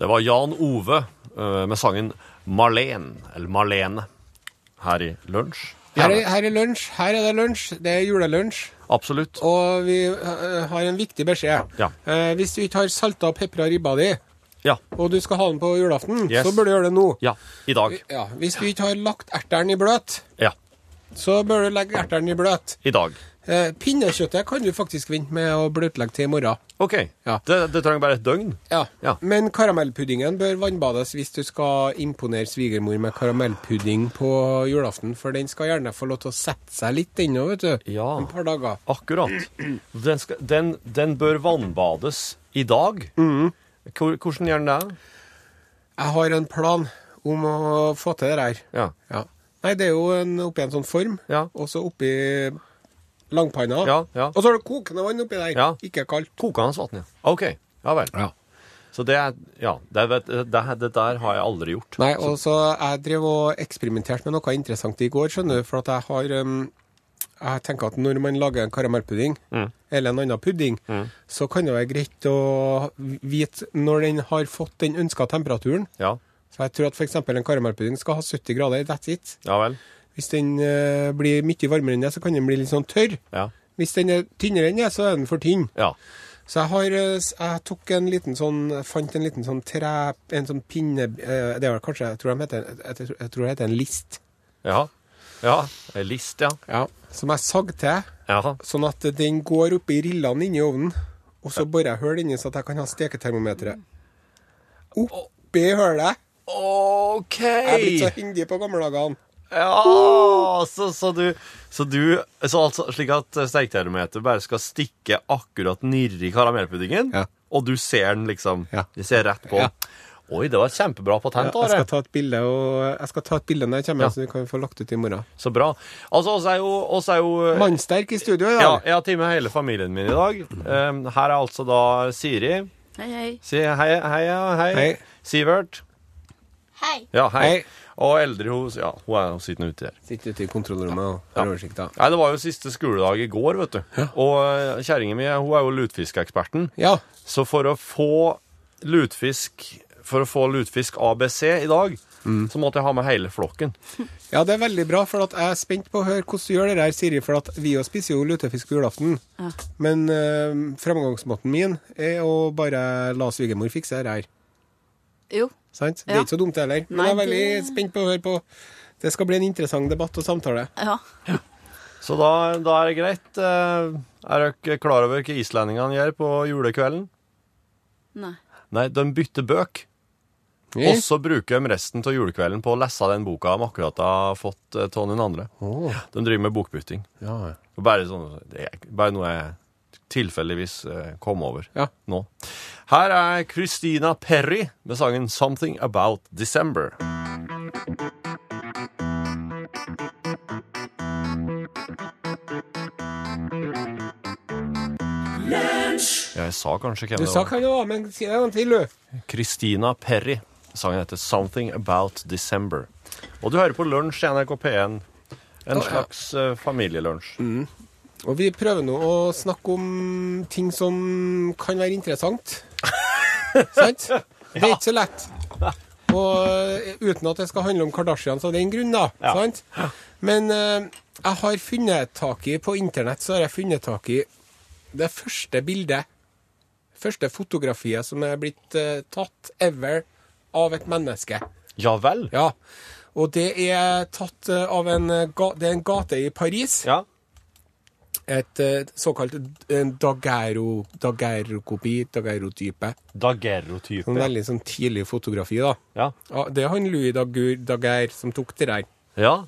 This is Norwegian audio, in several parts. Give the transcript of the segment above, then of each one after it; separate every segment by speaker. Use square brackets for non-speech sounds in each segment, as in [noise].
Speaker 1: Det var Jan Ove eh, med sangen Marlene, eller Marlene, her i lunsj.
Speaker 2: Her er, her er lunsj. Her er det lunsj. Det er julelunsj.
Speaker 1: Absolutt.
Speaker 2: Og vi eh, har en viktig beskjed.
Speaker 1: Ja.
Speaker 2: Eh, hvis du ikke har salta og pepra ribba di,
Speaker 1: Ja.
Speaker 2: og du skal ha den på julaften,
Speaker 1: Yes.
Speaker 2: så bør du gjøre det nå.
Speaker 1: Ja. I dag.
Speaker 2: Ja, Hvis du ikke har lagt erteren i bløt,
Speaker 1: Ja.
Speaker 2: så bør du legge erteren i bløt.
Speaker 1: I dag.
Speaker 2: Eh, pinnekjøttet kan du faktisk vinne med å bløtlegge til i morgen.
Speaker 1: OK.
Speaker 2: Ja.
Speaker 1: Det, det trenger bare et døgn.
Speaker 2: Ja.
Speaker 1: Ja.
Speaker 2: Men karamellpuddingen bør vannbades hvis du skal imponere svigermor med karamellpudding på julaften, for den skal gjerne få lov til å sette seg litt ennå, vet du.
Speaker 1: Ja.
Speaker 2: Et par dager.
Speaker 1: Akkurat. Den, skal, den, den bør vannbades i dag. Hvor- Hvordan gjør den det?
Speaker 2: Jeg har en plan om å få til det her.
Speaker 1: Ja.
Speaker 2: Ja. Nei, det er jo en, oppi en sånn form,
Speaker 1: Ja.
Speaker 2: og så oppi langpanna.
Speaker 1: Ja, ja.
Speaker 2: Og så har du kokende vann oppi der.
Speaker 1: Ja.
Speaker 2: Ikke kaldt.
Speaker 1: Kokende vann, ja. OK. Ja vel. Så det er Ja. Det, vet- det, det der har jeg aldri gjort.
Speaker 2: Nei, og så jeg drev og eksperimenterte med noe interessant i går, skjønner du, for at jeg har em, jeg tenker at når man lager en karamellpudding,
Speaker 1: Mm.
Speaker 2: eller en annen pudding, så kan det være greit å vite når den har fått den ønska temperaturen.
Speaker 1: Ja.
Speaker 2: Så jeg tror at f.eks. en karamellpudding skal ha 70 grader, that's it.
Speaker 1: Ja vel.
Speaker 2: Hvis den eh, blir mye varmere enn det, så kan den bli litt sånn tørr.
Speaker 1: Ja.
Speaker 2: Hvis den er tynnere enn det, så er den for tynn.
Speaker 1: Ja.
Speaker 2: Så jeg har eh, s- jeg tok en liten sånn jeg fant en liten sånn tre En sånn pinne eh, Det er vel kanskje Jeg tror de heter jeg tror- Jeg tror det heter en list.
Speaker 1: Ja. ja. En List, ja.
Speaker 2: Ja. Som jeg sagde til,
Speaker 1: ja.
Speaker 2: sånn at den går oppi rillene inni ovnen. Og så borer jeg hull inni, så at jeg kan ha steketermometeret. Oppi hølet!
Speaker 1: OK!
Speaker 2: Jeg er blitt så hindig på gamle dagene.
Speaker 1: Ja, så, så du Så du så altså, Slik at steketermometer bare skal stikke akkurat nirri karamellpuddingen,
Speaker 2: Ja.
Speaker 1: og du ser den liksom
Speaker 2: Ja.
Speaker 1: Du ser rett på.
Speaker 2: Ja.
Speaker 1: Oi, det var et kjempebra patent.
Speaker 2: Jeg skal
Speaker 1: Are.
Speaker 2: ta et bilde og Jeg skal ta et bilde når jeg kommer,
Speaker 1: Ja.
Speaker 2: så du kan få lagt ut i morgen.
Speaker 1: Så bra. Altså, oss er jo, oss er jo eh,
Speaker 2: Mannsterk i studio i
Speaker 1: ja,
Speaker 2: dag.
Speaker 1: Jeg har tatt med hele familien min i dag. Um, her er altså da Siri.
Speaker 3: Hei, hei.
Speaker 1: Si hei, hei, ja, hei.
Speaker 2: Hei.
Speaker 1: Sivert.
Speaker 3: Hei.
Speaker 1: Ja, hei.
Speaker 2: Hei.
Speaker 1: Og eldre, hun, ja, hun er hun sitter nå ute der.
Speaker 2: Sitter ute i kontrollrommet og har oversikt, da.
Speaker 1: Nei, Det var jo siste skoledag i går, vet du. Og eh, kjerringa mi hun er jo lutfiskeksperten.
Speaker 2: Ja.
Speaker 1: Så for å få lutfisk For å få lutfisk ABC i dag, så måtte jeg ha med hele flokken.
Speaker 2: Ja, det er veldig bra, for at jeg er spent på å høre hvordan du gjør det der, Siri. For at vi jo spiser jo lutefisk på julaften. Men eh, framgangsmåten min er å bare la svigermor fikse det her.
Speaker 3: Jo.
Speaker 2: Sant? Det
Speaker 3: Ja.
Speaker 2: er ikke så dumt heller. Men
Speaker 3: Nei,
Speaker 2: jeg er veldig
Speaker 3: det-
Speaker 2: spent på å høre på. Det skal bli en interessant debatt og samtale.
Speaker 3: Ja.
Speaker 1: Så da, da er det greit. Eh, Er dere klar over hva islendingene gjør på julekvelden?
Speaker 3: Nei.
Speaker 1: Nei, de bytter bøk. Og så bruker de resten av julekvelden på å lese den boka de akkurat har fått eh, av noen andre.
Speaker 2: Åh,
Speaker 1: De driver med bokbytting.
Speaker 2: ja.
Speaker 1: Og Bare, sånn, det er bare noe jeg tilfeldigvis eh, kom over
Speaker 2: Ja.
Speaker 1: nå. Her er Christina Perry med sangen 'Something About December'. Ja, jeg sa kanskje hvem
Speaker 2: Du
Speaker 1: det
Speaker 2: sa
Speaker 1: var.
Speaker 2: hva det var, men si det en gang til, du.
Speaker 1: Christina Perry. Sangen heter 'Something About December'. Og du hører på Lunsj i NRK P1. En slags eh, familielunsj.
Speaker 2: Og vi prøver nå å snakke om ting som kan være interessant. Sant? Det er ikke så lett. Og eh, uten at det skal handle om Kardashians av den grunn, da.
Speaker 1: Ja.
Speaker 2: Sant? Men eh, jeg har funnet tak i På internett så har jeg funnet tak i det første bildet. Første fotografiet som er blitt eh, tatt ever av et menneske.
Speaker 1: Ja vel?
Speaker 2: Ja. Og det er tatt eh, av en, eh, ga, det er en gate i Paris
Speaker 1: Ja.
Speaker 2: et eh, såkalt en daguerro- daguerrokopi, daguerrotype.
Speaker 1: Daguerreotype.
Speaker 2: Sånn veldig sånn tidlig fotografi, da.
Speaker 1: Ja.
Speaker 2: Ja, det er han Louis Daguer, Daguerre som tok det der.
Speaker 1: ja.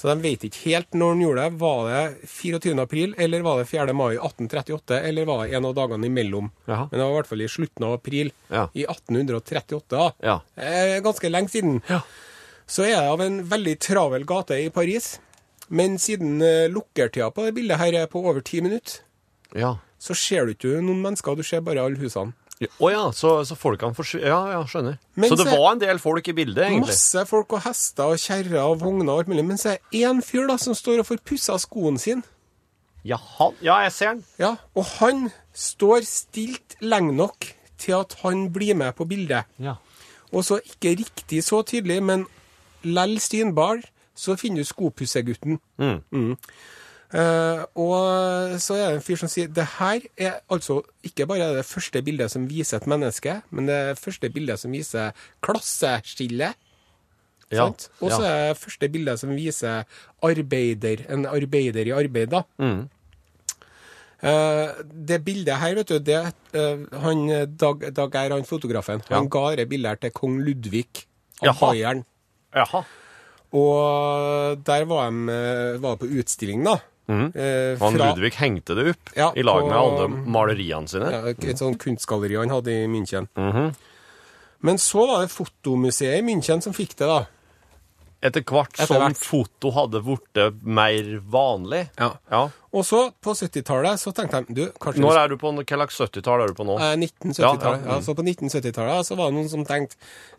Speaker 2: Så de vet ikke helt når han gjorde det. Var det 24. april, eller var det 4. mai 1838, eller var det en av dagene imellom?
Speaker 1: Jaha.
Speaker 2: Men det var i hvert fall i slutten av april
Speaker 1: Ja.
Speaker 2: i 1838. da.
Speaker 1: Ja.
Speaker 2: Eh, ganske lenge siden.
Speaker 1: Ja.
Speaker 2: Så er det av en veldig travel gate i Paris. Men siden eh, lukkertida på det bildet her er på over ti minutter,
Speaker 1: Ja.
Speaker 2: så ser du ikke noen mennesker, du ser bare alle husene.
Speaker 1: Å ja. så, så folkene forsvinner Ja, ja, skjønner.
Speaker 2: Men
Speaker 1: så det
Speaker 2: så-
Speaker 1: var en del folk i bildet, egentlig?
Speaker 2: Masse folk og hester og kjerrer og vogner og alt mulig, men så er det én fyr da som står og får pussa skoen sin.
Speaker 1: Ja, han, ja, jeg ser den.
Speaker 2: Ja, og han står stilt lenge nok til at han blir med på bildet.
Speaker 4: Ja.
Speaker 2: Og så ikke riktig så tydelig, men lell Stinbar, så finner du skopussegutten.
Speaker 1: Mm.
Speaker 2: Mm. Eh, og så er det en fyr som sier det her er altså ikke bare det første bildet som viser et menneske, men det er første bildet som viser klasseskillet.
Speaker 1: Ja,
Speaker 2: sant? Og så
Speaker 1: ja.
Speaker 2: er det første bildet som viser arbeider, en arbeider i arbeid, da.
Speaker 1: Mm.
Speaker 2: Eh, det bildet her, vet du, det eh, han, eh, Dag, Dag Eir, han fotografen,
Speaker 1: Ja.
Speaker 2: han ga det bildet her til kong Ludvig av
Speaker 1: Jaha.
Speaker 2: Bayern.
Speaker 1: Jaha.
Speaker 2: Og der var de eh, var på utstilling, da.
Speaker 1: Mhm.
Speaker 2: Eh,
Speaker 1: Han
Speaker 2: fra-
Speaker 1: Ludvig hengte det opp
Speaker 2: Ja,
Speaker 1: i lag med
Speaker 2: på-
Speaker 1: alle maleriene sine.
Speaker 2: Ja, et sånt kunstgalleri han hadde i München.
Speaker 1: Mm-hmm.
Speaker 2: Men så var det fotomuseet i München som fikk det, da.
Speaker 1: Etter hvert
Speaker 2: Etter
Speaker 1: som
Speaker 2: hvert.
Speaker 1: foto hadde blitt mer vanlig.
Speaker 2: Ja.
Speaker 1: Ja.
Speaker 2: Og så, på 70-tallet, så tenkte de du, kanskje
Speaker 1: Når er du på, hva slags 70-tall er du på nå?
Speaker 2: Eh, 1970-tallet.
Speaker 1: Ja,
Speaker 2: Ja,
Speaker 1: ja. Mm.
Speaker 2: så på 1970-tallet så var det noen som tenkte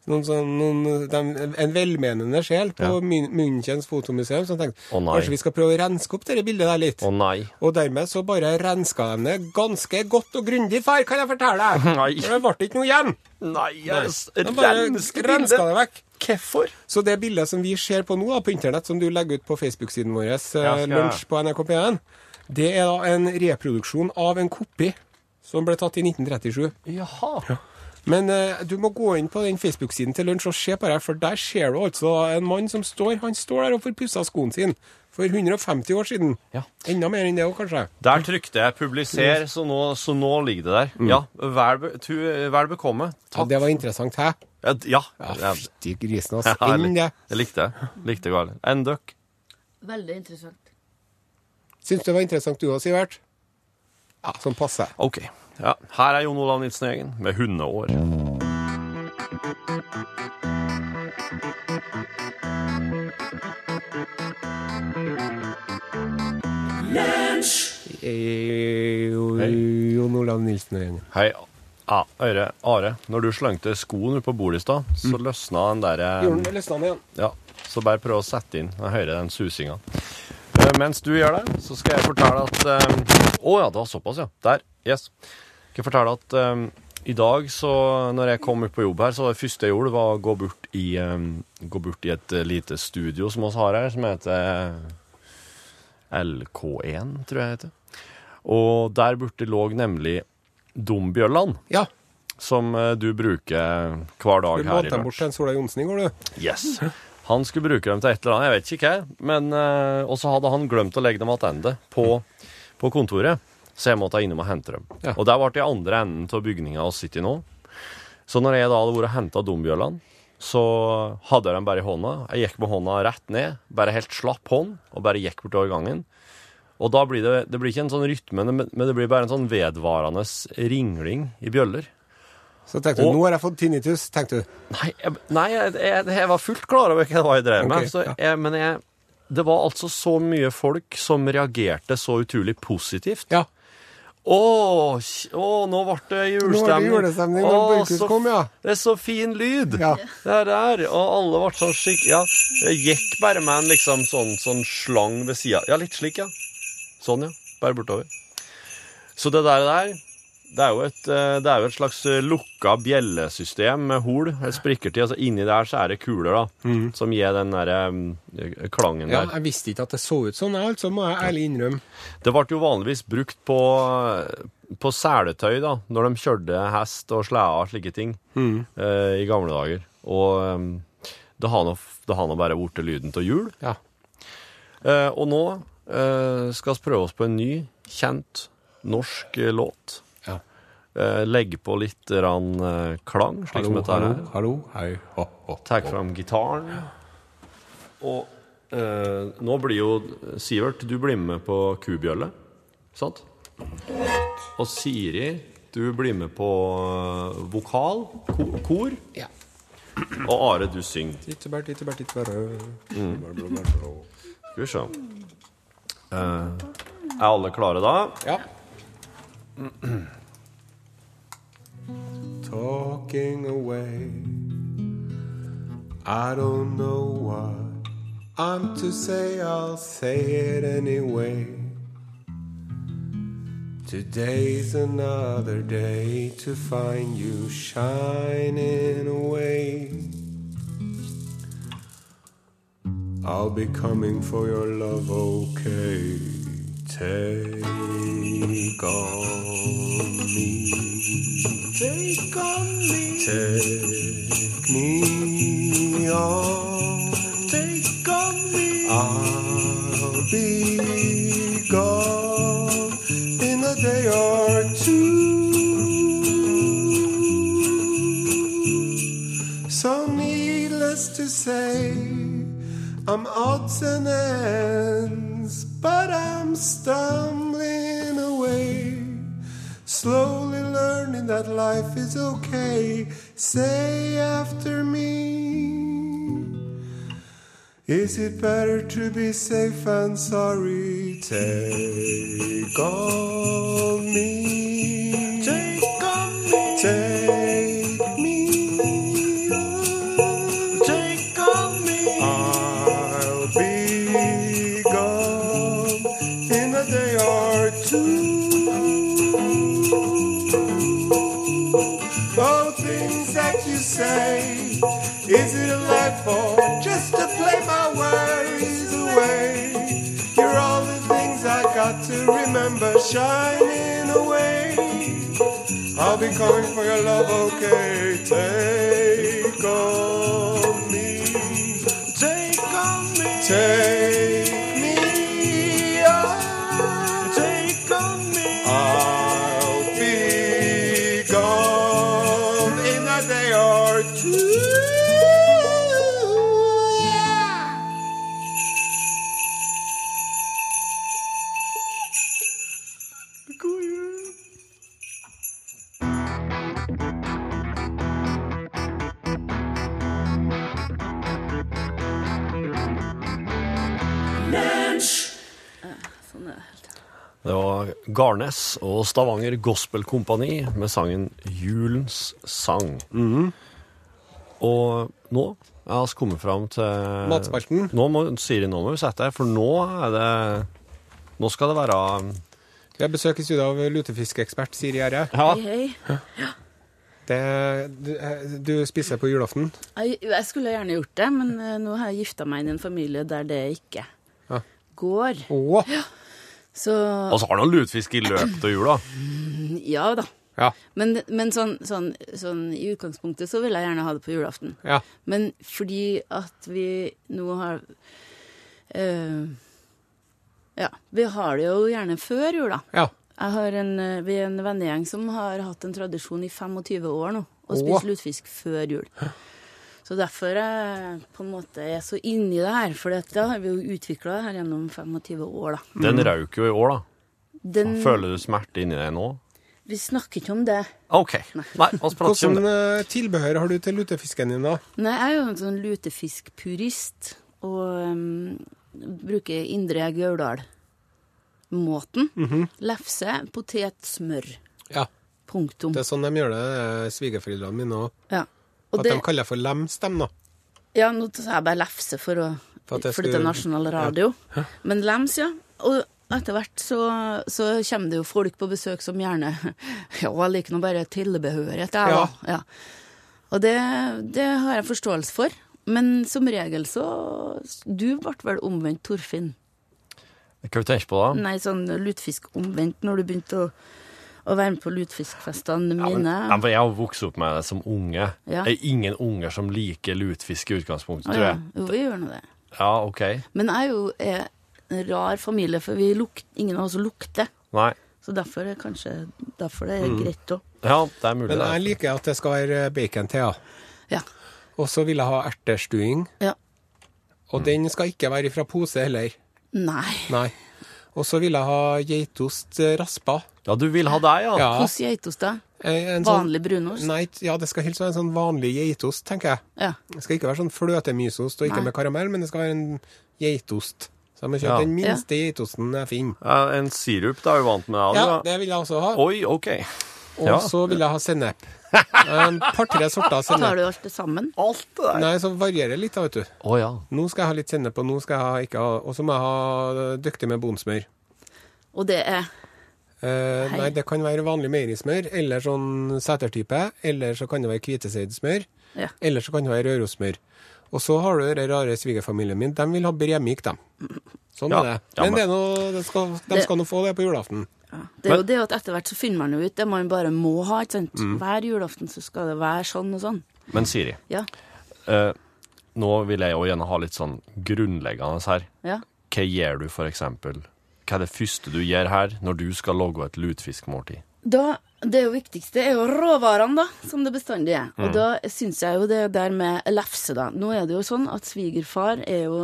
Speaker 2: noen, som- noen, dem- En velmenende sjel på
Speaker 1: Ja.
Speaker 2: Mün- Münchens fotomuseum som tenkte
Speaker 1: Å, nei.
Speaker 2: kanskje vi skal prøve å renske opp dette bildet der litt.
Speaker 1: Å nei.
Speaker 2: Og dermed så bare renska de det ganske godt og grundig, far, kan jeg fortelle
Speaker 1: [laughs]
Speaker 2: deg!
Speaker 1: Nei.
Speaker 2: For Det ble ikke noe igjen!
Speaker 1: Nei,
Speaker 2: De bare renska det vekk.
Speaker 1: Hvorfor?
Speaker 2: Så det bildet som vi ser på nå da, på internett, som du legger ut på Facebook-siden vår,
Speaker 1: skal
Speaker 2: eh,
Speaker 1: jeg.
Speaker 2: lunsj på NRK P1, det er da en reproduksjon av en kopi som ble tatt i 1937.
Speaker 1: Jaha.
Speaker 2: Men eh, du må gå inn på den Facebook-siden til lunsj og se på det, her, for der ser du altså en mann som står han står der og får pussa skoen sin for 150 år siden.
Speaker 1: Ja.
Speaker 2: Enda mer enn det òg, kanskje.
Speaker 1: Der trykte jeg 'publiser', så nå, så nå ligger det
Speaker 2: Mm.
Speaker 1: der. Ja, vel, be, tu, vel bekomme.
Speaker 2: Ja,
Speaker 1: Takk.
Speaker 2: det var interessant, hæ?
Speaker 1: Ja, d- ja.
Speaker 2: Ja,
Speaker 1: ja.
Speaker 2: Fytti grisen,
Speaker 1: [laughs] Ja,
Speaker 2: altså.
Speaker 1: jeg
Speaker 2: Enn det.
Speaker 1: lik- jeg likte det. Likte det godt. Enn døkk.
Speaker 3: Veldig interessant.
Speaker 2: Syns du det var interessant du òg, Sivert? Ja, sånn passe.
Speaker 1: OK. Ja. Her er Jon Olav Nilsen Eggen med 'Hundeår'.
Speaker 2: Jon Olav Nilsen-gjengen.
Speaker 1: Hei, A- Are, Are. Når du slengte skoen ut på bordet i stad, så løsna den
Speaker 2: Mm.
Speaker 1: eh,
Speaker 2: Gjorde
Speaker 1: derre
Speaker 2: den løsna den igjen?
Speaker 1: Ja, så bare prøv å sette inn. Jeg hører den susinga. Eh, Mens du gjør det, så skal jeg fortelle at eh, Å ja, det var såpass, ja. Der. Yes. Skal jeg fortelle at eh, i dag, så når jeg kom opp på jobb her, så var det første jeg gjorde, var å gå bort i, eh, gå bort i et eh, lite studio som vi har her, som heter eh, LK1, tror jeg det heter. Og der borte lå nemlig Dombjørland,
Speaker 2: Ja.
Speaker 1: som eh, du bruker hver
Speaker 2: Du
Speaker 1: dag her i
Speaker 2: lånte den bort
Speaker 1: lunsj.
Speaker 2: til en Sola Johnsen i går, du.
Speaker 1: Yes. Han skulle bruke dem til et eller annet, jeg vet ikke hva. Men, eh, Og så hadde han glemt å legge dem tilbake på, på kontoret, så jeg måtte innom og hente dem.
Speaker 2: Ja.
Speaker 1: Og der ble det i andre enden av bygninga vi sitter i nå. Så når jeg da hadde vært og henta dombjøllene, så hadde jeg dem bare i hånda. Jeg gikk med hånda rett ned, bare helt slapp hånd, og bare gikk bortover gangen. Og da blir det, det blir ikke en sånn rytme, men men det blir bare en sånn vedvarende ringling i bjøller.
Speaker 2: Så tenkte du,
Speaker 1: Og-
Speaker 2: nå har jeg fått tinnitus, tenkte du.
Speaker 1: Nei, jeg, nei jeg, jeg, jeg var fullt klar over hva det var jeg drev med.
Speaker 2: Ok,
Speaker 1: så
Speaker 2: ja.
Speaker 1: jeg, men jeg, det var altså så mye folk som reagerte så utrolig positivt.
Speaker 2: Ja.
Speaker 1: Å, kj- å, nå ble det
Speaker 2: Nå
Speaker 1: julestemning.
Speaker 2: var det julestemning når
Speaker 1: Å,
Speaker 2: Borchhus
Speaker 1: så-
Speaker 2: kom, ja.
Speaker 1: Det er så fin lyd.
Speaker 2: Ja.
Speaker 1: Det er der. Og alle ble sånn skikk... Ja, jeg gikk bare med en liksom sånn, sånn slang ved sida. Ja, litt slik, ja. Sånn, ja. Bare bortover. Så det der, der det er, jo et, eh, det er jo et slags eh, lukka bjellesystem med hol. eller Sprikker til. Altså inni der så er det kuler, da. Som gir den derre eh, klangen
Speaker 2: ja.
Speaker 1: der.
Speaker 2: Jeg visste ikke at det så ut sånn, jeg, altså, må jeg ærlig innrømme.
Speaker 1: Det ble jo vanligvis brukt på, på seletøy, da, når de kjørte hest og sleder og slike ting
Speaker 2: Mm.
Speaker 1: eh, i gamle dager. Og eh, det har nå f- det har nå bare blitt lyden av hjul.
Speaker 2: Ja.
Speaker 1: Eh, og nå eh, skal vi prøve oss på en ny, kjent norsk eh, låt.
Speaker 2: Ja.
Speaker 1: Eh, legge på litt rann, eh, klang, slik som dette her.
Speaker 2: hallo, hei, ho, ho.
Speaker 1: Ta fram gitaren. Og eh, nå blir jo Sivert, du blir med på kubjølle, sant? Og Siri, du blir med på eh, vokal, ko kor.
Speaker 2: Ja.
Speaker 1: Og Are, du synger.
Speaker 2: Tittebær, tittebær, tittebær. Mm.
Speaker 1: Skal vi se. Eh, er alle klare da?
Speaker 2: Ja. [clears throat] Talking away I don't know what I'm to say, I'll say it anyway Today's another day to find you shining away. I'll be coming for your love, okay? Take on me. Take on me. Take me on. Take on me. I'll be gone in a day or two. So needless to say, I'm odds and ends, but I'm stumbling away. Slowly learning that life is okay. Say after me. Is it better to be safe and sorry? Take on me. Take on me. Take me. Take on me. I'll be gone in a day or two. Oh, things that you say, is it a life or just to play my worries away? You're all the things I got to remember shining away. I'll be coming for your love, okay? Take on me. Take on me. Take me. on. Take on me. I'll be gone in a day or two. Yeah. God jul.
Speaker 3: Sånn er det helt.
Speaker 1: Det var Garnes og Stavanger Gospel Kompani med sangen 'Julens sang'.
Speaker 2: Mhm.
Speaker 1: Og nå er vi kommet fram til
Speaker 2: Matspalten.
Speaker 1: Nå må, Siri, nå må vi sette deg, for nå er det Nå skal det være
Speaker 2: Vi har besøk i studio av lutefiskeekspert Siri Gjerre.
Speaker 1: Ah. Ja,
Speaker 3: Hei, hei.
Speaker 2: Det- Du, eh, du spiser på julaften.
Speaker 3: Jeg, jeg skulle gjerne gjort det, men eh, nå har jeg gifta meg inn i en familie der det ikke
Speaker 2: Ja.
Speaker 3: går.
Speaker 2: Å!
Speaker 3: Så
Speaker 1: Og så har du noen lutefisk i løpet av jula.
Speaker 3: ja da.
Speaker 2: Ja.
Speaker 3: Men, men sånn, sånn, sånn i utgangspunktet så vil jeg gjerne ha det på julaften.
Speaker 2: ja.
Speaker 3: Men fordi at vi nå har eh, Ja, vi har det jo gjerne før jula.
Speaker 2: Ja.
Speaker 3: Jeg har en, eh, vi er en vennegjeng som har hatt en tradisjon i 25 år nå, å
Speaker 2: Åh.
Speaker 3: spise lutefisk før jul. Så derfor jeg på en måte er så inni det her, for da har vi jo utvikla det her gjennom 25 år, da.
Speaker 1: Den
Speaker 2: Mm.
Speaker 1: røk jo i år, da.
Speaker 3: Den,
Speaker 1: Føler du smerte inni deg nå?
Speaker 3: vi snakker ikke om det.
Speaker 1: OK. Nei, vi prater ikke om det.
Speaker 2: Hvordan eh, tilbehør har du til lutefisken din, da?
Speaker 3: Nei, jeg er jo en sånn lutefiskpurist, og ehm, bruker Indre Gauldal-måten.
Speaker 2: Mhm.
Speaker 3: Lefse, potet, smør.
Speaker 2: Ja.
Speaker 3: Punktum.
Speaker 2: Det er sånn de gjør det, eh, svigerforeldrene mine òg.
Speaker 3: Ja.
Speaker 2: At
Speaker 3: Og det,
Speaker 2: de kaller for lems, dem, da.
Speaker 3: ja, nå sa jeg bare lefse for å
Speaker 2: For at jeg
Speaker 3: For dette er
Speaker 2: skulle-
Speaker 3: nasjonal radio. Men lems, ja. Og etter hvert så, så kommer det jo folk på besøk som gjerne [laughs] Ja, jeg liker nå bare tilbehøret, jeg, da. Ja. Og det, det har jeg forståelse for. Men som regel så Du ble vel omvendt Torfinn?
Speaker 1: Hva tenker du på da?
Speaker 3: Nei, sånn lutefisk omvendt når du begynte å, å være med på
Speaker 1: Ja,
Speaker 3: lutefiskfestene
Speaker 1: men,
Speaker 3: mine.
Speaker 1: ja, for jeg har vokst opp med det som unge.
Speaker 3: Ja.
Speaker 1: Det er ingen unger som liker lutefisk i utgangspunktet,
Speaker 3: Å
Speaker 1: tror
Speaker 3: ja.
Speaker 1: jeg.
Speaker 3: Jo, vi gjør nå det.
Speaker 1: Ja, OK.
Speaker 3: Men jeg er jo er en rar familie, for vi luk, ingen av oss lukter.
Speaker 1: Nei.
Speaker 3: Så derfor er kanskje derfor det er
Speaker 2: Mm.
Speaker 3: greit òg.
Speaker 1: Ja, det er mulig.
Speaker 2: Men
Speaker 1: det.
Speaker 2: jeg liker at det skal være bacon til, ja.
Speaker 3: Ja.
Speaker 2: Og så vil jeg ha ertestuing.
Speaker 3: ja.
Speaker 2: Og den skal ikke være fra pose heller.
Speaker 3: Nei.
Speaker 2: Nei. Og så vil jeg ha geitost eh, raspa.
Speaker 1: Ja, du vil ha deg, ja?
Speaker 2: Ja.
Speaker 3: Hos geitost, da?
Speaker 2: Eh, en sånn-
Speaker 3: Vanlig brunost?
Speaker 2: Nei, ja, det skal helst være en sånn vanlig geitost, tenker jeg.
Speaker 3: Ja.
Speaker 2: Det skal ikke være sånn fløtemysost og ikke
Speaker 3: Nei.
Speaker 2: med karamell, men det skal være en geitost. Så jeg må
Speaker 1: Ja.
Speaker 2: kjøpe den minste geitosten jeg finner.
Speaker 1: Eh, En sirup, det er jo vant med.
Speaker 2: Ja,
Speaker 1: Ja,
Speaker 2: det vil jeg også ha.
Speaker 1: Oi, OK.
Speaker 2: Og
Speaker 1: ja.
Speaker 2: så vil jeg ha sennep. En par-tre sorter
Speaker 3: Tar
Speaker 2: sennep.
Speaker 3: du alt det sammen?
Speaker 1: Alt det der.
Speaker 2: Nei, så varierer litt, da, vet du.
Speaker 1: Å ja.
Speaker 2: Nå skal jeg ha litt sennep, og nå skal jeg ha ikke ha Og så må jeg ha dyktig med bonsmør.
Speaker 3: Og det er
Speaker 2: Eh,
Speaker 3: Hei.
Speaker 2: nei, det kan være vanlig meierismør, eller sånn setertype. Eller så kan det være hviteseidsmør.
Speaker 3: Ja.
Speaker 2: Eller så kan det være rørosmør. Og så har du den rare svigerfamilien min. De vil ha bremik, de. Sånn
Speaker 1: Ja.
Speaker 2: er det.
Speaker 1: Ja, men-
Speaker 2: Men det er noe, det skal, de
Speaker 3: Det-
Speaker 2: skal nå få det på julaften.
Speaker 3: Ja. Det er jo det at etter hvert så finner man jo ut det man bare må ha. ikke sant?
Speaker 2: Mm.
Speaker 3: Hver julaften så skal det være sånn og sånn.
Speaker 1: Men Siri,
Speaker 3: Ja,
Speaker 1: eh, nå vil jeg jo gjerne ha litt sånn grunnleggende her.
Speaker 3: ja.
Speaker 1: Hva gjør du, for eksempel? Hva er det første du gjør her, når du skal lage et lutfiskmåltid?
Speaker 3: Da, det jo viktigste er jo råvarene, da, som det bestandig er.
Speaker 2: Mm.
Speaker 3: Og da syns jeg jo det der med lefse, da. Nå er det jo sånn at svigerfar er jo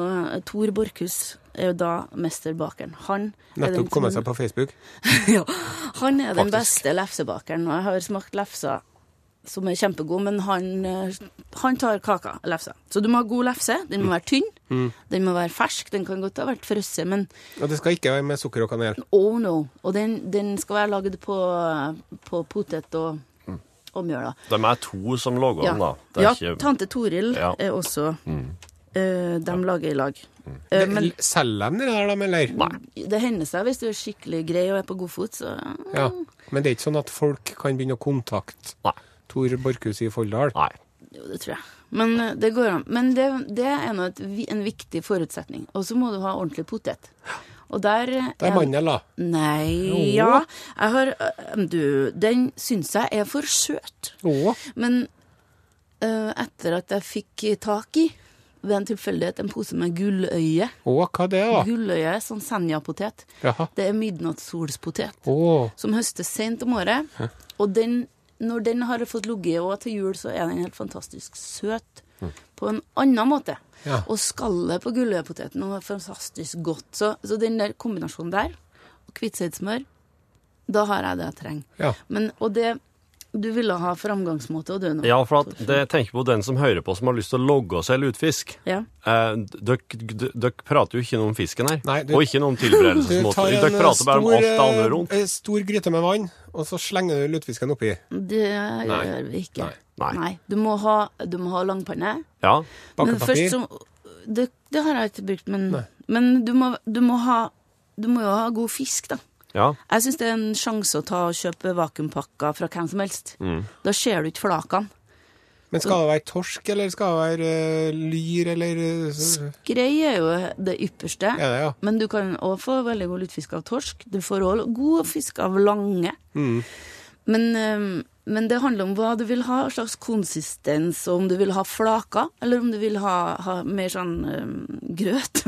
Speaker 3: Tor Borchhus er jo da mesterbakeren. Han er den
Speaker 2: Nettopp kommet
Speaker 3: som-
Speaker 2: seg på Facebook.
Speaker 3: [laughs] ja, han er den
Speaker 1: Faktisk.
Speaker 3: beste lefsebakeren, og jeg har smakt lefser som er kjempegod, men han, eh, han tar kaka, lefsa. Så du må ha god lefse. Den
Speaker 1: Mm.
Speaker 3: må være tynn, den må være fersk, den kan godt ha vært frosset, men
Speaker 2: Og det skal ikke være med sukker og kanel.
Speaker 3: Oh no. Og den, den skal være laget på, på potet og, og mjøl. da.
Speaker 1: De er to som lager
Speaker 3: Ja,
Speaker 1: den, da. Mm. Det er
Speaker 3: ja
Speaker 1: ikke-
Speaker 3: tante Toril
Speaker 1: Ja. Mm.
Speaker 3: er også eh, De lager i lag. Eh, men
Speaker 2: Selger de det der, de, eller?
Speaker 3: det hender seg hvis du er skikkelig grei og er på god fot, så
Speaker 2: Ja. Men det er ikke sånn at folk kan begynne å kontakte
Speaker 1: Nei.
Speaker 2: Tor Borchhus i Folldal.
Speaker 1: Nei.
Speaker 3: Jo, det tror jeg. Men eh, det går an. Men det, det er nå et vi- en viktig forutsetning. Og så må du ha ordentlig potet. Og der eh,
Speaker 2: Det er mandel, da.
Speaker 3: Nei,
Speaker 2: Jo.
Speaker 3: ja. Jeg har eh, Du, den syns jeg er for søt.
Speaker 2: Å.
Speaker 3: Men eh, etter at jeg fikk tak i, ved en tilfeldighet, en pose med gulløye
Speaker 2: Å, hva det er det,
Speaker 3: Gulløye er sånn senjapotet.
Speaker 2: da? Jaha.
Speaker 3: Det er midnattssolspotet,
Speaker 2: Å.
Speaker 3: som høstes sent om året. Og den, når den har fått ligget og til jul, så er den helt fantastisk søt
Speaker 1: Mm.
Speaker 3: på en annen måte.
Speaker 2: Ja.
Speaker 3: Og skallet på gulløyepoteten er fantastisk godt. Så, så den der kombinasjonen der, og hvitseidsmør, da har jeg det jeg trenger.
Speaker 2: Ja.
Speaker 3: Men, og det Du ville ha framgangsmåte, og du nå.
Speaker 1: Ja, for at det, jeg tenker på den som hører på, som har lyst til å logge seg lutfisk.
Speaker 3: Ja.
Speaker 1: Eh, Dere d- dere prater jo ikke noe om fisken her,
Speaker 2: Nei, du-
Speaker 1: og ikke noe om
Speaker 2: Du tar
Speaker 1: tilberedelsesmåter.
Speaker 2: en
Speaker 1: Dere
Speaker 2: eh,
Speaker 1: prater bare om alt det andre
Speaker 2: stor,
Speaker 1: rundt.
Speaker 2: eh, stor gryte med vann, og så slenger du lutefisken oppi.
Speaker 3: Det gjør vi ikke.
Speaker 1: Nei.
Speaker 3: Du, må ha, du må ha langpanne.
Speaker 1: Ja.
Speaker 3: Men først
Speaker 2: Bakepapir.
Speaker 3: så det, det har jeg ikke brukt, men, men du, må, du, må ha, du må jo ha god fisk, da.
Speaker 1: ja.
Speaker 3: Jeg syns det er en sjanse å ta og kjøpe vakuumpakker fra hvem som helst. Da ser du ikke flakene.
Speaker 2: Men skal det være torsk, eller skal det være eh, lyr, eller eh, s-
Speaker 3: Skrei er jo det ypperste.
Speaker 2: Ja, det, ja.
Speaker 3: Men du kan òg få veldig god lutefisk av torsk. Du får òg god fisk av lange. Men, eh, men det handler om hva du vil ha, slags konsistens, og om du vil ha flaker, eller om du vil ha, ha mer sånn eh, grøt.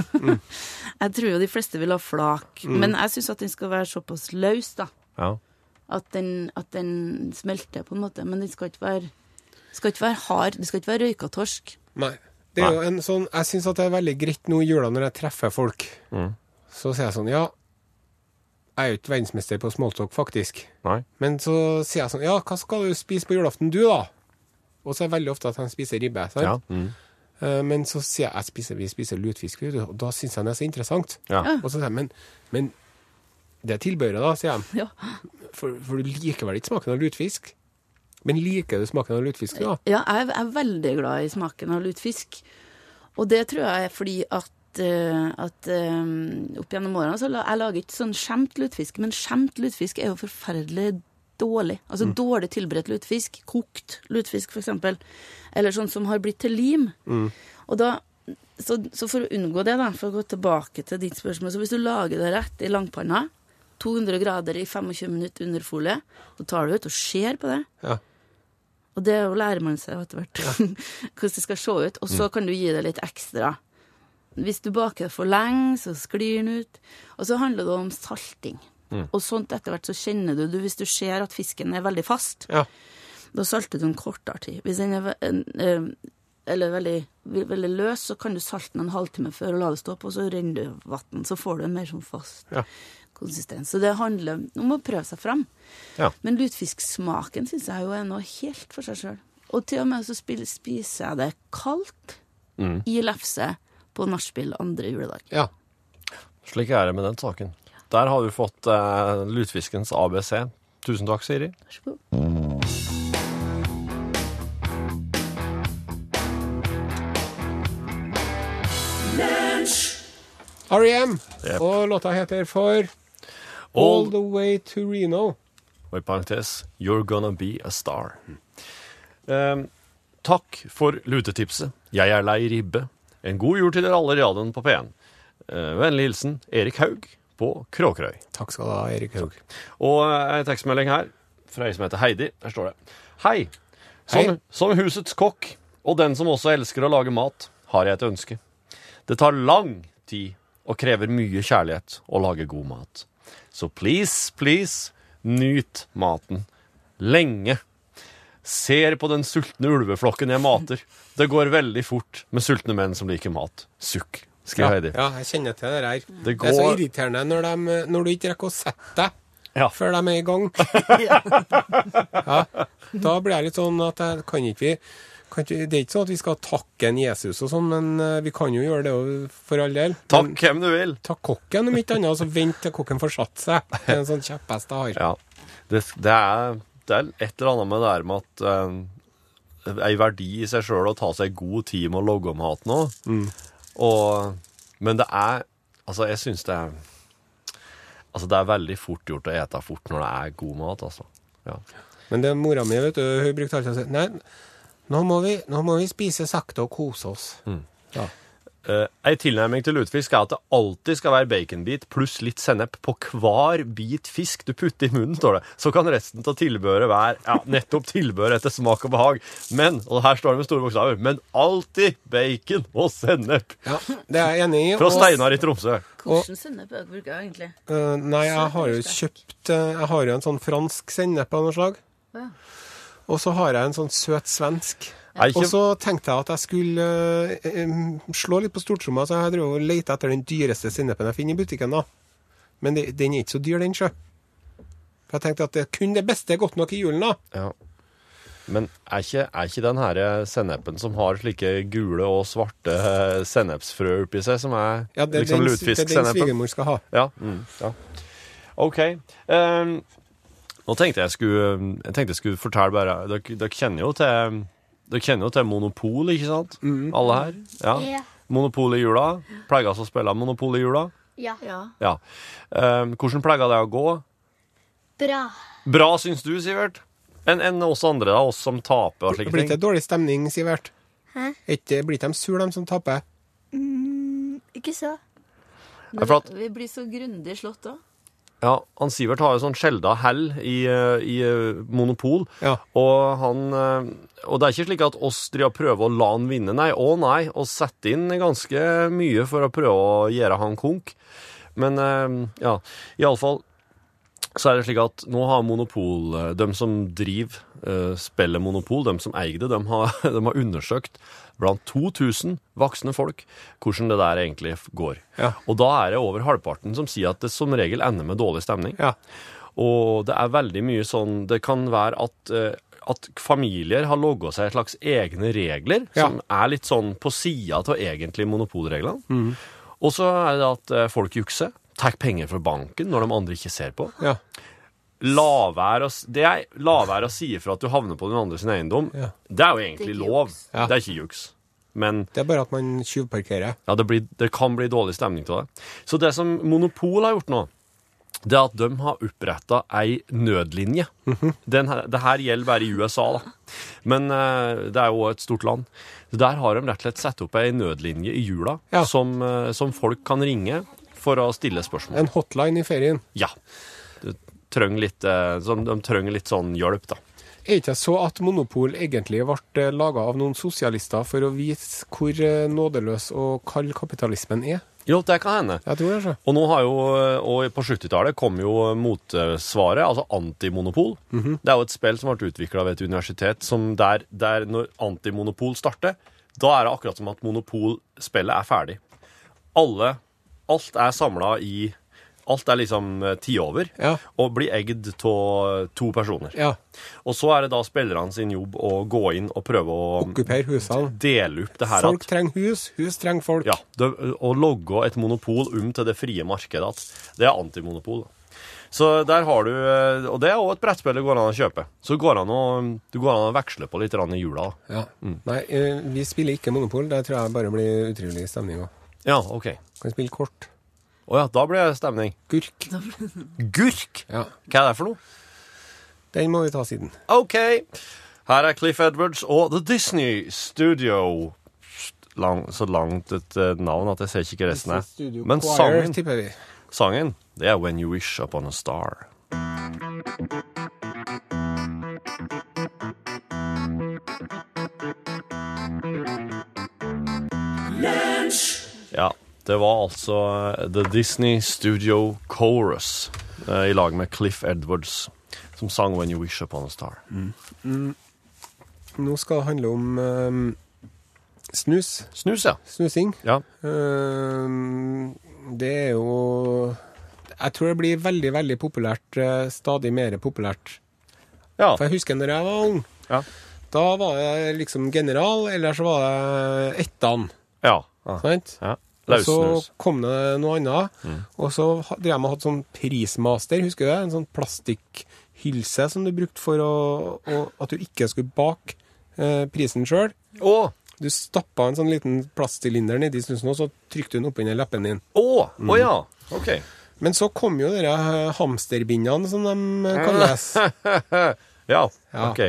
Speaker 3: [laughs] jeg tror jo de fleste vil ha flak, men jeg syns at den skal være såpass løs, da.
Speaker 1: ja.
Speaker 3: At den, at den smelter, på en måte. Men den skal ikke være, skal ikke være hard. Det skal ikke være røyka torsk.
Speaker 2: Nei. Det er jo en sånn, jeg syns det er veldig greit nå i jula når jeg treffer folk.
Speaker 1: Mm.
Speaker 2: Så sier jeg sånn Ja, jeg er jo ikke verdensmester på smalltalk, faktisk.
Speaker 1: Nei.
Speaker 2: Men så sier jeg sånn Ja, hva skal du spise på julaften, du, da? Og så er det veldig ofte at han spiser ribbe. Sant?
Speaker 1: Ja. Mm.
Speaker 2: Eh, Men så sier jeg jeg spiser, vi spiser lutfisk, vet du, og da syns jeg det er så interessant.
Speaker 1: Ja.
Speaker 2: Og så sier jeg men, men det tilbehøret, da, sier jeg.
Speaker 3: Ja.
Speaker 2: For, for du liker vel ikke smaken av lutfisk? Men liker du smaken av lutfisk, da?
Speaker 3: Ja, jeg er- er veldig glad i smaken av lutefisk. Og det tror jeg er fordi at, eh, at eh, opp gjennom årene så la, jeg lager ikke sånn skjemt lutefisk, men skjemt lutefisk er jo forferdelig dårlig. Altså dårlig tilberedt lutefisk, kokt lutefisk for eksempel, eller sånn som har blitt til lim. Og da, så, så for å unngå det, da, for å gå tilbake til ditt spørsmål, så hvis du lager det rett i langpanna, 200 grader i 25 minutter under folie, så tar du ut og ser på det.
Speaker 2: Ja.
Speaker 3: Og det er jo lærer man seg jo etter hvert [laughs] hvordan det skal se ut. Og så kan du gi det litt ekstra. Hvis du baker det for lenge, så sklir den ut. Og så handler det om salting. Og sånt etter hvert så kjenner du det hvis du ser at fisken er veldig fast.
Speaker 2: Ja.
Speaker 3: Da salter du den kortere tid. Hvis den er ve- en, eh, eller veldig, ve- veldig løs, så kan du salte den en halvtime før og la det stå på, og så renner det vann. Så får du en mer sånn fast
Speaker 2: Ja.
Speaker 3: konsistens. Så det handler om å prøve seg fram.
Speaker 1: Ja.
Speaker 3: Men lutfisksmaken syns jeg jo er noe helt for seg sjøl. Og til og med så spil- spiser jeg det kaldt
Speaker 1: Mm.
Speaker 3: i lefse på nachspiel andre juledag.
Speaker 2: ja.
Speaker 1: Slik er det med den saken. Der har du fått eh, lutfiskens ABC. Tusen takk, Siri.
Speaker 3: Vær så god.
Speaker 2: R.E.M.
Speaker 1: Jep.
Speaker 2: E Og låta heter for All the way to Reno.
Speaker 1: Og i parentes You're gonna be a star. Eh, takk for lutetipset. Jeg er lei ribbe. En god jul til dere alle i radioen på P1. Eh, vennlig hilsen Erik Haug på Kråkerøy.
Speaker 2: Takk skal du ha, Erik Haug.
Speaker 1: Og eh, en tekstmelding her fra ei som heter Heidi. Her står det. Hei. Som,
Speaker 2: Hei.
Speaker 1: som husets kokk, og den som også elsker å lage mat, har jeg et ønske. Det tar lang tid og krever mye kjærlighet å lage god mat. Så please, please, nyt maten. Lenge. Ser på den sultne ulveflokken jeg mater. Det går veldig fort med sultne menn som liker mat. Sukk, skriver Heidi.
Speaker 2: Ja, jeg kjenner til det her. Det,
Speaker 1: Det
Speaker 2: er så
Speaker 1: går-
Speaker 2: irriterende når, de, når du ikke rekker å sette deg
Speaker 1: Ja.
Speaker 2: før de er i
Speaker 1: [laughs]
Speaker 2: gang. ja. Da blir jeg litt sånn at jeg kan ikke vi kan ikke, Det er ikke sånn at vi skal takke en Jesus og sånn, men eh, vi kan jo gjøre det jo, for all del.
Speaker 1: Takk
Speaker 2: Men
Speaker 1: hvem du vil.
Speaker 2: Ta kokken om ikke annet, og så vent til kokken får satt seg. Det er en sånn kjepphest jeg har.
Speaker 1: Ja. Det, det, er, det er et eller annet med det her med at eh, ei verdi i seg sjøl å ta seg god tid med å logge om hat nå. Og, men det er Altså, jeg syns det er Altså, det er veldig fort gjort å ete fort når det er god mat, altså. Ja.
Speaker 2: Men det er mora mi, vet du, hun brukte alltid å si Nei, nå må vi, nå må vi spise sakte og kose oss.
Speaker 1: Mm.
Speaker 2: Ja.
Speaker 1: Eh, ei tilnærming til lutefisk er at det alltid skal være baconbit pluss litt sennep på hver bit fisk du putter i munnen, står det. Så kan resten av tilbehøret være ja, nettopp tilbehør etter smak og behag. Men, og her står det med store bokstaver, men alltid bacon og sennep!
Speaker 2: ja, det er jeg enig i.
Speaker 1: Fra
Speaker 2: og-
Speaker 1: Steinar i Tromsø.
Speaker 3: Hvordan sennep er det du bruker egentlig?
Speaker 2: Eh, nei, jeg har jo
Speaker 3: Søt eller sterk?
Speaker 2: kjøpt eh, Jeg har jo en sånn fransk sennep av noe slag.
Speaker 3: Å ja.
Speaker 2: Og så har jeg en sånn søt svensk.
Speaker 1: Er
Speaker 2: Og
Speaker 1: ikke,
Speaker 2: så tenkte jeg at jeg skulle eh, em, slå litt på stortromma, så jeg drev og lette etter den dyreste sennepen jeg finner i butikken. da. Men det, den er ikke så dyr, den, sjø. For jeg tenkte at det kun det beste er godt nok i julen, da.
Speaker 1: ja. Men er ikke, er ikke den her eh, sennepen som har slike gule og svarte eh, sennepsfrø oppi seg, som er
Speaker 2: Ja, det, er
Speaker 1: liksom
Speaker 2: den, det er den
Speaker 1: lutefisksennepen?
Speaker 2: svigermor skal ha.
Speaker 1: Ja. Mm, ja. OK. ehm, nå tenkte jeg skulle, jeg tenkte jeg skulle fortelle bare Dere, dere kjenner jo til dere kjenner jo til Monopol, ikke sant?
Speaker 2: Mm.
Speaker 1: Alle her. Ja.
Speaker 4: Ja.
Speaker 1: Monopol i jula. Pleier altså å spille Monopol i jula.
Speaker 4: Ja.
Speaker 3: Ja.
Speaker 1: Ja. Ehm, hvordan pleier det å gå?
Speaker 4: Bra.
Speaker 1: Bra, syns du, Sivert? Enn enn oss andre, da, oss som taper og slike
Speaker 2: Blir ikke
Speaker 1: ting.
Speaker 2: det dårlig stemning, Sivert?
Speaker 4: Hæ?
Speaker 2: Er ikke- Blir ikke de sure, de som taper?
Speaker 4: Ikke så.
Speaker 1: Ja, for at-
Speaker 3: Vi blir så grundig slått òg.
Speaker 1: Ja, han Sivert har jo sånn sjelda hell i, eh, i eh, Monopol.
Speaker 2: Ja.
Speaker 1: Og, han, eh, og det er ikke slik at oss driver og prøver å la han vinne, nei. Å nei, og setter inn ganske mye for å prøve å gjøre han konk. Men eh, ja, iallfall så er det slik at nå har Monopol eh, De som driver eh, spillet Monopol, de som eier det, de har, [laughs] de har undersøkt blant 2000 voksne folk hvordan det der egentlig går.
Speaker 2: Ja.
Speaker 1: Og da er det over halvparten som sier at det som regel ender med dårlig stemning.
Speaker 2: Ja.
Speaker 1: Og det er veldig mye sånn Det kan være at, eh, at familier har logga seg et slags egne regler,
Speaker 2: Ja.
Speaker 1: som er litt sånn på sida av egentlig monopolreglene.
Speaker 2: Mm.
Speaker 1: Og så er det at eh, folk jukser. Tar penger fra banken når de andre ikke ser på.
Speaker 2: ja.
Speaker 1: La være å s- det er- la være å si ifra at du havner på den andre sin eiendom.
Speaker 2: Ja.
Speaker 1: Det er jo egentlig
Speaker 3: Det er ikke
Speaker 1: lov.
Speaker 3: juks.
Speaker 2: Ja.
Speaker 1: Det er ikke juks. Men
Speaker 2: Det er bare at man tjuvparkerer.
Speaker 1: ja, det, blir, det kan bli dårlig stemning til det. Så det som Monopol har gjort nå, det er at de har oppretta ei nødlinje. Den her, det her gjelder bare i USA, da. Men eh, det er jo et stort land. Så Der har de rett og slett satt opp ei nødlinje i jula
Speaker 2: Ja.
Speaker 1: som, eh, som folk kan ringe for å stille spørsmål.
Speaker 2: En hotline i ferien.
Speaker 1: Ja. Du trenger litt, eh, som- de trenger litt sånn hjelp, da.
Speaker 2: Er ikke så at Monopol egentlig ble laga av noen sosialister for å vise hvor eh, nådeløs og kald kapitalismen er?
Speaker 1: Jo, det kan hende.
Speaker 2: Jeg tror det, altså. så.
Speaker 1: Og nå har jo, og på 70-tallet kom jo motsvaret, altså antimonopol.
Speaker 2: Mhm.
Speaker 1: Det er jo et spill som ble utvikla ved et universitet, som der, der når antimonopol starter, da er det akkurat som at monopolspillet er ferdig. Alle, alt er samla i Alt er liksom eh, ti over,
Speaker 2: Ja.
Speaker 1: og blir eggd av to personer.
Speaker 2: Ja.
Speaker 1: Og så er det da spillerne sin jobb å gå inn og prøve å
Speaker 2: Okkuper husene.
Speaker 1: dele opp det her at
Speaker 2: Folk trenger hus, hus trenger folk.
Speaker 1: ja, det, å logge et monopol om til det frie markedet, at det er antimonopol. da. Så der har du, eh, og det er også et brettspill det går an å kjøpe. Så det går an å, det går an å veksle på litt grann i jula. da.
Speaker 2: Ja. Nei, eh, vi spiller ikke Monopol. Der tror jeg bare blir utrivelig stemning òg.
Speaker 1: Ja, ok.
Speaker 2: Kan spille kort.
Speaker 1: Å ja, da blir det stemning.
Speaker 2: Gurk.
Speaker 1: Gurk!
Speaker 2: Ja.
Speaker 1: Hva er det for noe?
Speaker 2: Den må vi ta siden.
Speaker 1: OK. Her er Cliff Edwards og The Disney Studio. Lang, så langt et eh, navn at jeg ser ikke hva resten er.
Speaker 2: Studio
Speaker 1: Men
Speaker 2: Choir,
Speaker 1: sangen,
Speaker 2: tipper vi.
Speaker 1: sangen, det er When You Wish Upon a Star. Ja, det var altså eh, The Disney Studio Chorus eh, i lag med Cliff Edwards, som sang When You Wish Upon a Star.
Speaker 2: Nå skal det handle om ehm, snus.
Speaker 1: Snus, ja.
Speaker 2: Snusing.
Speaker 1: ja.
Speaker 2: Ehm, det er jo Jeg tror det blir veldig, veldig populært. eh, Stadig mer populært.
Speaker 1: Ja.
Speaker 2: For jeg husker når jeg var ung.
Speaker 1: Ja.
Speaker 2: Da var jeg liksom general, eller så var jeg ettan.
Speaker 1: ja. ja.
Speaker 2: Sant?
Speaker 1: ja.
Speaker 2: Og så
Speaker 1: Løssnus.
Speaker 2: kom det noe annet. Og så ha- drev jeg med å ha sånn prismaster, husker du det? En sånn plastikkhylse som du brukte for å, å, at du ikke skulle bake eh, prisen sjøl.
Speaker 1: Å!
Speaker 2: Du stappa en sånn liten plastsylinder nedi snusen, og så trykte du den oppunder leppen din.
Speaker 1: Å! Å ja. Mm. OK.
Speaker 2: Men så kom jo de eh, hamsterbindene, som de eh, kalles.
Speaker 1: Ja.
Speaker 2: Ja.
Speaker 1: OK.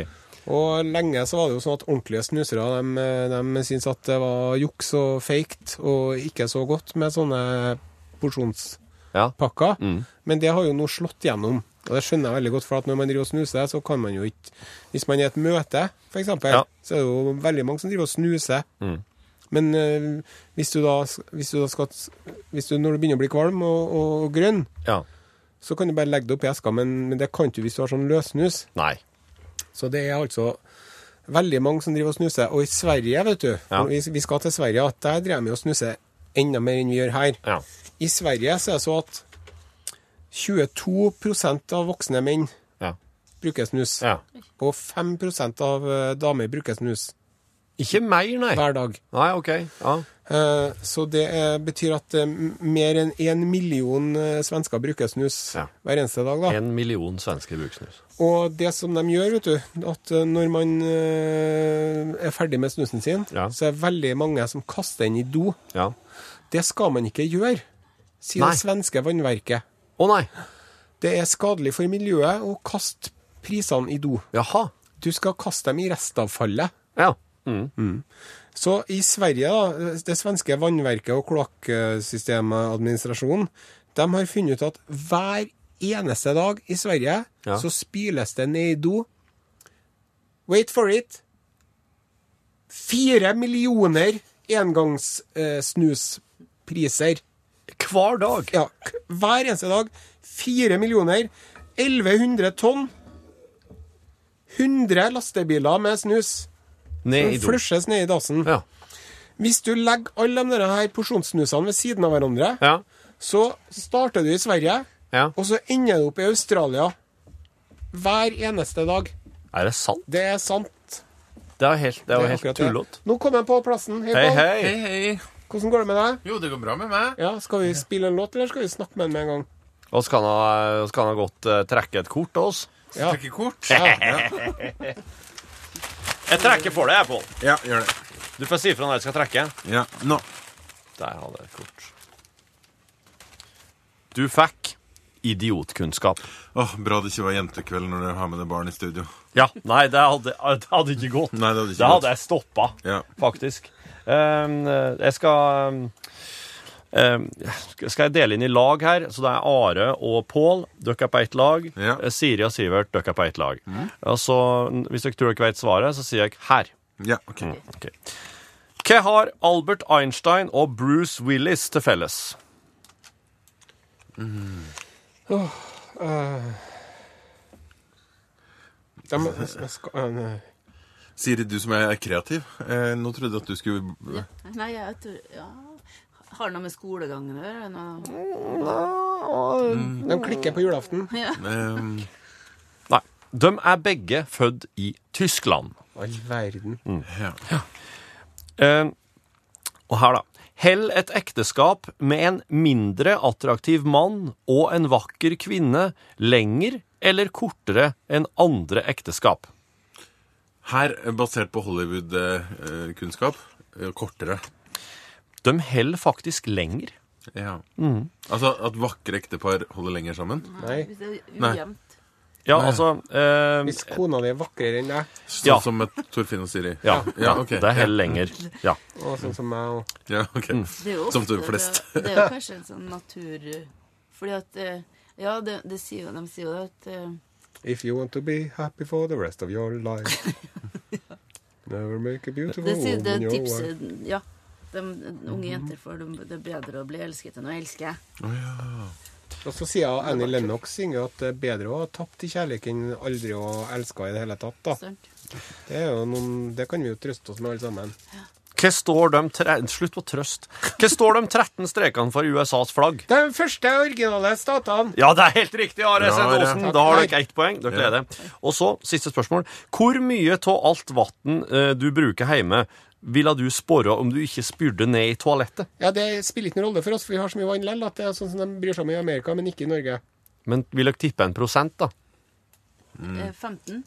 Speaker 2: Og lenge så var det jo sånn at ordentlige snusere de, de syntes at det var juks og feigt og ikke så godt med sånne porsjonspakker.
Speaker 1: Ja.
Speaker 2: Men det har jo nå slått gjennom. Og det skjønner jeg veldig godt, for at når man driver og snuser, så kan man jo ikke Hvis man er i et møte, f.eks., eksempel,
Speaker 1: Ja.
Speaker 2: så er det jo veldig mange som driver og snuser. Men eh, hvis, du da, hvis du da skal hvis du, Når du begynner å bli kvalm og, og grønn,
Speaker 1: ja.
Speaker 2: så kan du bare legge det oppi eska, men, men det kan du hvis du har sånn løssnus.
Speaker 1: Nei.
Speaker 2: Så det er altså veldig mange som driver og snuser. Og i Sverige, vet du,
Speaker 1: Ja.
Speaker 2: vi, vi skal til Sverige, at der driver vi og snuser enda mer enn vi gjør her.
Speaker 1: Ja.
Speaker 2: I Sverige så er det så at 22 av voksne menn
Speaker 1: ja.
Speaker 2: bruker snus.
Speaker 1: ja.
Speaker 2: Og 5 av eh, damer bruker snus
Speaker 1: Ikke mer, nei.
Speaker 2: hver dag.
Speaker 1: Nei, OK. Ja.
Speaker 2: Eh, Så det eh, betyr at eh, m- mer enn én million eh, svensker bruker snus
Speaker 1: Ja.
Speaker 2: hver eneste dag. da.
Speaker 1: En million svensker bruker snus.
Speaker 2: Og det som de gjør, vet du, at eh, når man eh, er ferdig med snusen sin,
Speaker 1: Ja.
Speaker 2: så er det veldig mange som kaster den i do.
Speaker 1: Ja.
Speaker 2: Det skal man ikke gjøre, sier
Speaker 1: Nei.
Speaker 2: det svenske vannverket.
Speaker 1: Å nei.
Speaker 2: Det er skadelig for miljøet å kaste prisene i do.
Speaker 1: Jaha.
Speaker 2: Du skal kaste dem i restavfallet.
Speaker 1: Ja. Mm.
Speaker 2: Så i Sverige, da, det svenske vannverket og kloakksystemadministrasjonen, de har funnet ut at hver eneste dag i Sverige
Speaker 1: Ja.
Speaker 2: så spyles det ned i do. Wait for it! Fire millioner eh, engangssnuspriser.
Speaker 1: Hver dag.
Speaker 2: ja, k- hver eneste dag. Fire millioner. 1100 tonn. 100 lastebiler med snus.
Speaker 1: Ned i do.
Speaker 2: Flushes ned i dassen.
Speaker 1: Ja.
Speaker 2: Hvis du legger alle de der her porsjonssnusene ved siden av hverandre,
Speaker 1: Ja.
Speaker 2: så starter du i Sverige,
Speaker 1: ja.
Speaker 2: og så ender du opp i Australia. Hver eneste dag.
Speaker 1: Er det sant?
Speaker 2: Det er sant.
Speaker 1: Det er jo helt, det er jo helt
Speaker 2: akkurat det.
Speaker 1: tullete.
Speaker 2: Nå kom jeg på plassen. Hei,
Speaker 1: Hei,
Speaker 2: Pål.
Speaker 1: hei.
Speaker 5: Hei, hei.
Speaker 2: Hvordan går det med deg?
Speaker 5: Jo, det går bra med meg.
Speaker 2: Ja, Skal vi spille en låt, eller skal vi snakke med han med en gang?
Speaker 1: Og så kan han- så kan han godt eh, trekke et kort til oss.
Speaker 2: Ja.
Speaker 5: Trekker kort.
Speaker 2: Ja.
Speaker 1: Jeg trekker for deg, jeg, Pål.
Speaker 5: Ja, gjør det.
Speaker 1: Du får si ifra når jeg skal trekke.
Speaker 5: Ja, nå.
Speaker 1: Der hadde jeg et kort. Du fikk idiotkunnskap.
Speaker 5: Åh, Bra det ikke var jentekveld når du har med deg barn i studio.
Speaker 1: Ja, nei, det hadde, det hadde ikke gått.
Speaker 5: Nei, det hadde ikke
Speaker 1: det
Speaker 5: gått.
Speaker 1: hadde jeg stoppa,
Speaker 5: Ja.
Speaker 1: faktisk. Ehm, eh, jeg skal ehm, ehm, Skal jeg dele inn i lag her? Så det er Are og Pål. Dere er på ett lag.
Speaker 5: Ja.
Speaker 1: Eh, Siri og Sivert, dere er på ett lag. Og så, n- hvis dere tror dere vet svaret, så sier jeg her.
Speaker 5: Ja, ok.
Speaker 1: Ok. Hva har Albert Einstein og Bruce Willis til felles?
Speaker 2: De, jeg skal, eh, nei.
Speaker 5: Siri, du som er kreativ. Eh, nå trodde jeg at du skulle
Speaker 3: Ja. Nei, jeg tror ja. Har det noe med skolegangen å gjøre? Noe-
Speaker 2: De klikker på julaften.
Speaker 5: eh,
Speaker 1: Nei. De er begge født i Tyskland.
Speaker 2: All verden.
Speaker 1: Mm.
Speaker 5: ja.
Speaker 1: Eh, og her, da. Hell et ekteskap med en mindre attraktiv mann og en vakker kvinne lenger eller kortere enn andre ekteskap.
Speaker 5: Her, eh, basert på Hollywood-kunnskap, kortere.
Speaker 1: De holder faktisk lenger. Mm.
Speaker 5: Ja. Altså at vakre ektepar holder lenger sammen?
Speaker 2: Nei.
Speaker 6: Hvis det er
Speaker 5: Nei.
Speaker 6: ujevnt.
Speaker 1: Ja, altså eh,
Speaker 2: Hvis kona di er vakrere enn deg,
Speaker 5: Sånn
Speaker 1: Ja.
Speaker 5: som med Torfinn og Siri?
Speaker 1: ja,
Speaker 5: Ja, ok.
Speaker 1: Det er helt lenger. Ja.
Speaker 2: og sånn som meg og
Speaker 5: Ja, ok.
Speaker 1: Mm.
Speaker 6: Det er jo
Speaker 5: Som
Speaker 6: ofte-
Speaker 5: de flest.
Speaker 6: Det, det er jo
Speaker 5: [laughs]
Speaker 6: kanskje en sånn natur... Fordi at eh, Ja, det, det sier jo, de sier jo at eh,
Speaker 2: If you want to be happy for the rest of your life. Never make a beautiful
Speaker 6: Det sier det
Speaker 2: woman your wife.
Speaker 6: tipset Ja. De, unge jenter får det, det er bedre å bli elsket enn å elske.
Speaker 2: Og så sier jeg Annie Lennox synger at det er bedre å ha tapt i kjærlighet enn aldri å ha elska i det hele tatt. da.
Speaker 6: Sant?
Speaker 2: Det, er jo noen, det kan vi jo trøste oss med alle sammen.
Speaker 1: Hva står de tre... Slutt på trøst. Hva står de 13 strekene for USAs flagg?
Speaker 2: De første originale statene.
Speaker 1: Ja, det er helt riktig, Are
Speaker 5: Bra,
Speaker 1: Sende
Speaker 5: Are.
Speaker 1: Aasen.
Speaker 2: Takk.
Speaker 1: Da har
Speaker 2: Hei.
Speaker 1: dere ett poeng. Dere
Speaker 5: Ja.
Speaker 1: leder. Og så, siste spørsmål. Hvor mye av alt vann du bruker hjemme, ville du spore om du ikke spyrde ned i toalettet?
Speaker 2: Ja, Det spiller ikke noen rolle for oss, for vi har så mye vann likevel. at Det er sånn som de bryr seg om i Amerika, men ikke i Norge.
Speaker 1: Men vil dere tippe en prosent, da?
Speaker 5: Mm.
Speaker 6: Eh, 15.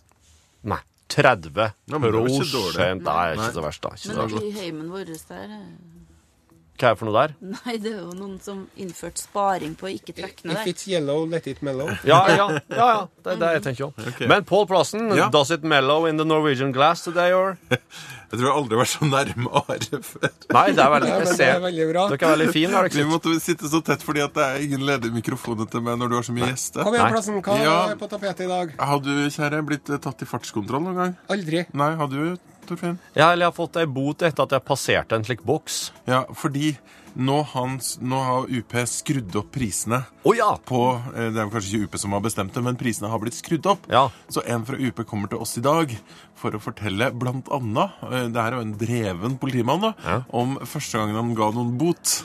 Speaker 1: Nei. 30
Speaker 5: Ja, men det er jo ikke dårlig.
Speaker 1: prosent. Nei, ikke
Speaker 5: Nei.
Speaker 1: så verst, da. Ikke så
Speaker 6: Men
Speaker 1: verst.
Speaker 6: i heimen vår der eh, [laughs]
Speaker 1: Hva er det for noe der?
Speaker 6: Nei, det er jo noen som innførte sparing på å ikke trekke ned
Speaker 2: If
Speaker 6: der.
Speaker 2: it's yellow, let it mellow.
Speaker 1: Ja, ja, ja, ja. det er det jeg tenker om. Men Pål Plassen,
Speaker 5: Ja.
Speaker 1: does it mellow in the Norwegian glass today, or?
Speaker 5: Jeg tror jeg aldri har vært så nærme Are før.
Speaker 1: Nei, det er veldig,
Speaker 2: Ja,
Speaker 1: jeg
Speaker 2: men det er
Speaker 1: ser.
Speaker 2: veldig bra.
Speaker 1: Dere er veldig fine, er dere
Speaker 5: Vi
Speaker 1: ikke?
Speaker 5: måtte sitte så tett fordi at det er ingen ledige mikrofoner til meg når du har så mye gjester.
Speaker 2: Kom igjen,
Speaker 1: Nei.
Speaker 2: Plassen. Hva
Speaker 5: Ja.
Speaker 2: er på tapetet i dag?
Speaker 5: Har du, kjære, blitt eh, tatt i fartskontroll noen gang?
Speaker 2: Aldri.
Speaker 5: Nei, har du, Torfinn?
Speaker 1: Ja, eller jeg har fått ei bot etter at jeg passerte en slik boks.
Speaker 5: Ja, fordi nå, hans, nå har UP skrudd opp prisene
Speaker 1: Å ja!
Speaker 5: på eh, Det er vel kanskje ikke UP som har bestemt det, men prisene har blitt skrudd opp.
Speaker 1: Ja.
Speaker 5: Så en fra UP kommer til oss i dag for å fortelle blant annet eh, Det her er jo en dreven politimann, da. Om første gangen han ga noen bot.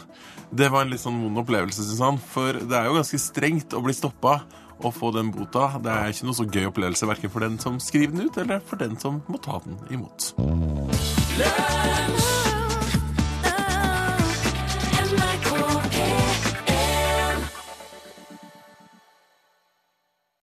Speaker 5: Det var en litt sånn vond opplevelse, syns han. For det er jo ganske strengt å bli stoppa. og få den bota Det er ikke noe så gøy opplevelse verken for den som skriver den ut, eller for den som må ta den imot.
Speaker 7: Lunsj,